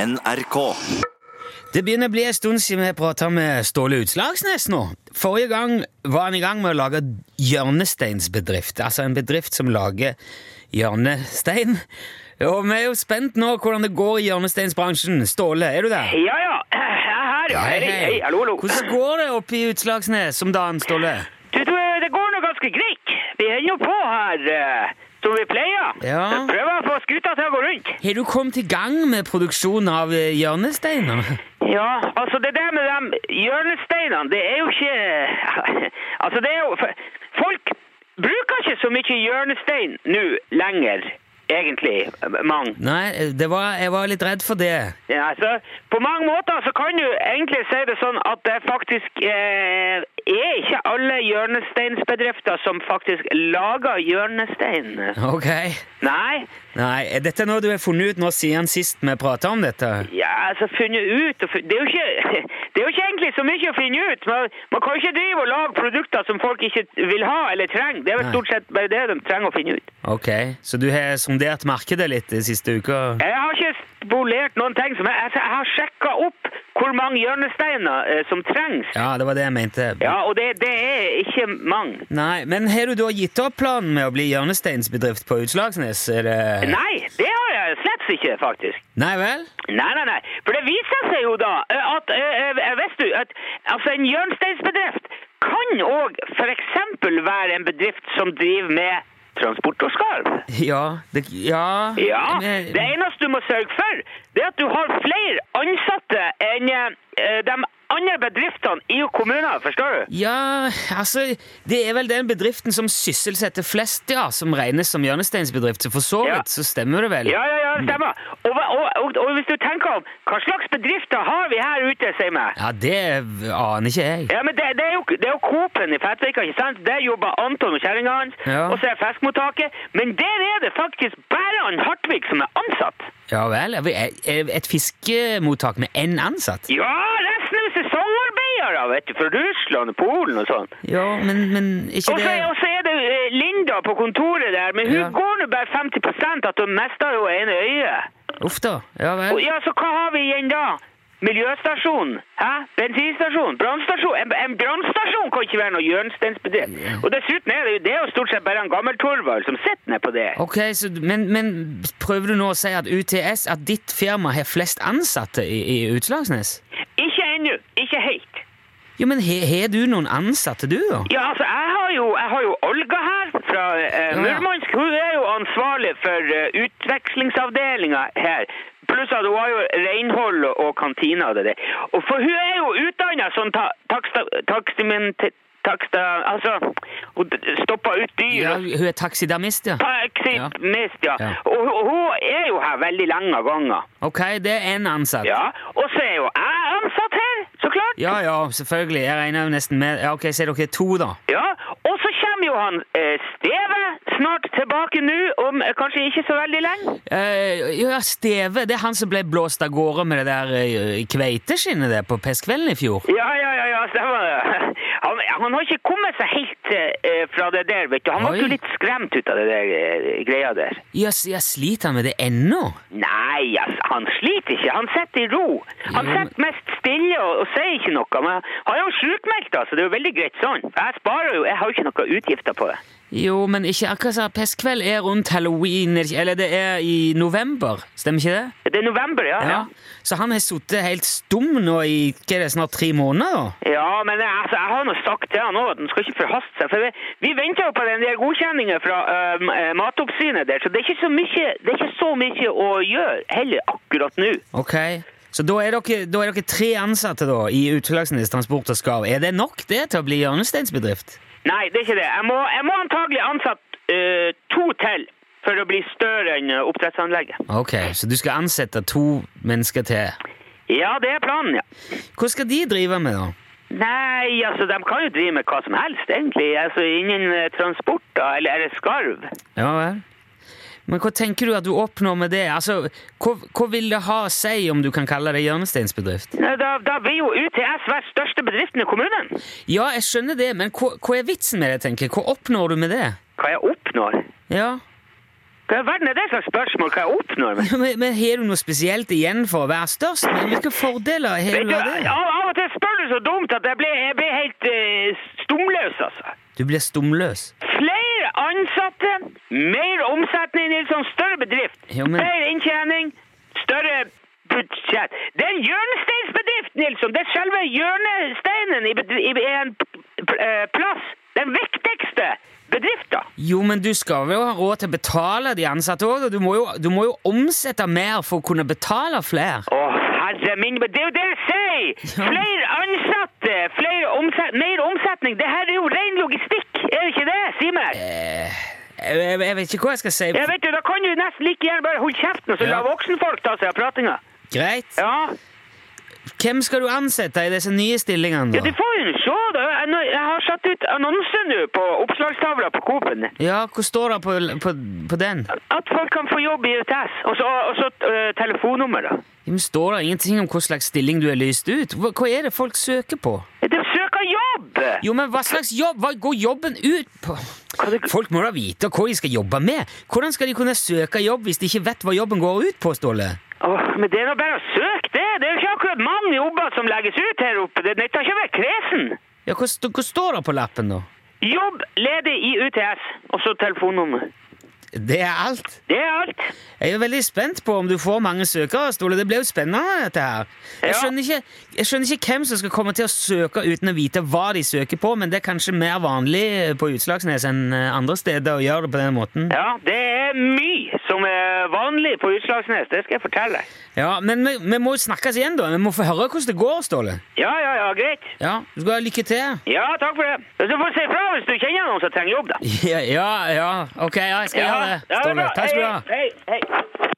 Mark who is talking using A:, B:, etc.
A: NRK.
B: Det begynner å bli en stund siden vi prata med Ståle Utslagsnes nå. Forrige gang var han i gang med å lage hjørnesteinsbedrift, altså en bedrift som lager hjørnestein. Og vi er jo spent nå hvordan det går i hjørnesteinsbransjen. Ståle, er du der?
C: Ja, ja. Jeg er her, ja. Hei, hei. Hallo, hallo.
B: Hvordan går det oppe i Utslagsnes om dagen, Ståle?
C: Du, du, det går nå ganske greit. Vi holder nå på her eh, som vi pleier.
B: Ja.
C: Jeg prøver å få skuta til å gå rundt.
B: Har du kommet i gang med produksjon av eh, hjørnesteiner?
C: Ja, altså det der med de hjørnesteinene, det er jo ikke Altså det er jo Folk bruker ikke så mye hjørnestein nå lenger, egentlig. Mange.
B: Nei, det var, jeg var litt redd for det.
C: Ja, altså, på mange måter så kan du egentlig si det sånn at det faktisk eh, er ikke alle hjørnesteinsbedrifter som faktisk lager hjørnestein.
B: Ok.
C: Nei,
B: Nei, er dette noe du har funnet ut nå siden sist vi prata om dette?
C: ja, altså funnet ut og fun- det, er jo ikke, det er jo ikke egentlig så mye å finne ut. Man, man kan jo ikke drive og lage produkter som folk ikke vil ha eller trenger. Det er
B: Nei.
C: vel stort sett bare det de trenger å finne ut.
B: Ok, så du har sondert markedet litt de siste uka?
C: Jeg har ikke spolert noen ting. som Jeg, altså, jeg har sjekka opp hvor mange hjørnesteiner eh, som trengs.
B: Ja, det var det jeg mente.
C: Ja, og det, det er ikke mange.
B: Nei, men har du da gitt opp planen med å bli hjørnesteinsbedrift på Utslagsnes? Er det...
C: Nei, det har jeg slett ikke, faktisk.
B: Nei vel?
C: Nei, nei, nei. For det viser seg jo da eh, at eh, eh, Visste du at altså en hjørnesteinsbedrift kan òg f.eks. være en bedrift som driver med transport og skarv?
B: Ja, det... Ja...
C: Ja.
B: men- eh,
C: Det eneste du må sørge for, det er at du har flere ansatte enn eh, de andre bedriftene i kommunen, forstår du?
B: Ja, altså, det er vel den bedriften som sysselsetter flest, ja, som regnes som hjørnesteinsbedrift, så for så
C: Ja.
B: vidt så stemmer det vel?
C: Ja, ja, ja, det stemmer. Og, hva- og, og, og hvis du tenker om hva slags bedrifter har vi her ute, sier meg?
B: Ja, det aner ikke jeg.
C: Ja, men det, det, er jo, det er jo Coop-en i Fettvika, ikke sant? Der jobber Anton og kjerringa hans,
B: Ja.
C: og så er fiskmottaket. Men der er det faktisk bare han Hartvig som er ansatt.
B: Ja vel, er vi- er- er et fiskemottak med én ansatt?
C: Ja, resten er sesongarbeidere, vet du, fra Russland og Polen og sånn.
B: Ja, men, men ikke
C: Og så
B: det...
C: og så er det eh, Linda på kontoret der, men hun
B: Ja.
C: går nå bare 50 at hun mister jo ene øyet.
B: Uff da, ja
C: Og
B: vel.
C: ja, så hva har vi igjen da? Miljøstasjon, hæ? bensinstasjon, brannstasjon. En, en brannstasjon kan ikke være noe hjørnesteinsbedrift. Og dessuten er det jo, det er jo stort sett bare en gammel Torvald som sitter ned på det.
B: Ok, så, du- men, men prøver du nå å si at UTS, at ditt firma har flest ansatte i, i Utslagsnes?
C: Ikke ennå, ikke helt.
B: Jo, men he- har du noen ansatte du, da?
C: Ja, altså, jeg har jo, jeg har jo Olga her fra eh,
B: Ja.
C: Murmansk. Hun er jo ansvarlig for eh, utvekslingsavdelinga her. Pluss at hun har jo renhold og kantina og det der. Og for hun er jo utdanna sånn ta, taksta... takstiment- taksta... Altså, hun stoppa ut dyr.
B: Ja,
C: og
B: hun er taxidermist, ja.
C: Taksimist, ja.
B: Ja.
C: Og hun- hun er jo her veldig lenge av gangen.
B: Ok, det er én ansatt.
C: Ja. Og så er jo jeg ansatt her, så klart.
B: Ja, ja, selvfølgelig. Jeg regner jo nesten med Ja, ok, så er dere to, da.
C: Ja, og så kommer jo han eh, Steve snart tilbake nå, om eh, kanskje ikke så veldig lenge.
B: Eh, ja, Steve, det er han som ble blåst av gårde med det der eh, kveiteskinnet der på Pestkvelden i fjor?
C: Ja, ja, ja, ja stemmer det. Han, han har ikke kommet seg helt eh, fra det der, vet du. Han
B: Oi.
C: ble jo litt skremt ut av det der eh, greia der.
B: Ja, s- ja, sliter han med det ennå?
C: Nei, ass, han sliter ikke. Han sitter i ro. Han
B: Jo, men-
C: sitter mest stille og, og sier ikke noe. Men han er jo sjukmeldt, altså. Det er jo veldig greit sånn. Jeg sparer jo, jeg har jo ikke noen utgifter på det.
B: Jo, men ikke akkurat sånn. Pestkveld er rundt halloween, er det ikke- eller det er i november, stemmer ikke det?
C: Det er november, ja. ja.
B: Så han har sittet helt stum nå i hva er det, snart tre måneder? da?
C: Ja, men jeg- altså, jeg har nå sagt til han òg at han skal ikke forhaste seg. For vi, vi venter jo på den der godkjenningen fra øhm, eh, Matoppsynet der, så det er, ikke så mye, det er ikke så mye å gjøre heller akkurat nå.
B: Ok. Så da er dere, da er dere tre ansatte da, i Utelagsnes Transport og Skarv. Er det nok det til å bli hjørnesteinsbedrift?
C: Nei, det er ikke det. Jeg må, jeg må antagelig ansette eh, to til for å bli større enn eh, oppdrettsanlegget.
B: Ok, så du skal ansette to mennesker til.
C: Ja, det er planen, ja.
B: Hva skal de drive med, da?
C: Nei, altså, de kan jo drive med hva som helst, egentlig. Altså, Innen eh, transporter eller, eller skarv.
B: Ja vel. Men hva tenker du at du oppnår med det? Altså, hva, hva vil det ha å si om du kan kalle det hjørnesteinsbedrift?
C: Nei, Da, da blir jo UTS hver største bedriften i kommunen.
B: Ja, jeg skjønner det, men hva, hva er vitsen med det, tenker jeg? Hva oppnår du med det?
C: Hva jeg oppnår?
B: Ja.
C: Hva i verden er det slags spørsmål hva jeg oppnår med?
B: Men, men Har du noe spesielt igjen for å være størst? Men Hvilke fordeler har
C: Vet
B: du
C: du,
B: av det?
C: av, av og til spør du så dumt at jeg ble, jeg ble helt eh, stumløs, altså.
B: Du blir stumløs.
C: Flere ansatte, mer omsetning i en sånn større bedrift.
B: Jo, men-
C: Mer inntjening, større budsjett. Det er en hjørnesteinsbedrift, Nilsson. Det er selve hjørnesteinen i, bedri- i en p- p- eh, plass. Den viktigste bedriften.
B: Jo, men du skal jo ha råd til å betale de ansatte òg. Du, må jo- du må jo omsette mer for å kunne betale flere.
C: Å, herre min, men det er jo det jeg sier!
B: Ja.
C: Flere ansatte, flere omset, mer omsetning. Det her er jo ren logistikk, er det ikke det, Simen?
B: Eh, Jeg, jeg, jeg vet ikke hva jeg skal si.
C: Ja, vet du, Da kan du nesten like gjerne bare holde kjeften og så
B: Ja.
C: la voksenfolk ta seg av pratinga.
B: Greit.
C: Ja.
B: Hvem skal du ansette i disse nye stillingene,
C: ja, du
B: da?
C: får jo se, da. Jeg, nå- jeg har satt ut annonse nå på oppslagstavla på Coop-en.
B: Ja, hva står det på, på, på den?
C: At folk kan få jobb i UTS. Og så, og så eh, telefonnummer, da.
B: Men står det ingenting om hva slags stilling du er lyst ut? Hva, hva er det folk søker på?
C: De søker jobb!
B: Jo, men hva slags jobb? Hva går jobben ut på?
C: Hva det-
B: Folk må da vite hva de skal jobbe med. Hvordan skal de kunne søke jobb hvis de ikke vet hva jobben går ut på, Ståle?
C: Åh, men det er nå bare å søke det. Det er jo ikke akkurat mange jobber som legges ut her oppe. Det nytter ikke å være kresen.
B: Ja, hva, st hva står det på lappen, da?
C: Jobb ledig i UTS, og så telefonnummer.
B: Det er alt.
C: Det er alt.
B: Jeg er veldig spent på om du får mange søkere, Ståle. Det blir jo spennende, dette her. Jeg
C: Ja.
B: skjønner, ikke, jeg skjønner ikke hvem som skal komme til å søke uten å vite hva de søker på, men det er kanskje mer vanlig på Utslagsnes enn eh, andre steder å gjøre det på den måten.
C: Ja, det er mye som er vanlig på Utslagsnes. Det skal jeg fortelle deg.
B: Ja, men vi, vi må jo snakkes igjen, da. Vi må få høre hvordan det går, Ståle.
C: Ja, ja, ja, greit.
B: Ja, du skal ha lykke til.
C: Ja, takk for det. Du får si fra hvis du kjenner noen som trenger jobb, da.
B: Ja, ja, ja. ok, ja, jeg skal gjøre det,
C: Ja, det er
B: Ståle.
C: bra.
B: Takk skal du ha.
C: Hei, hei. hei.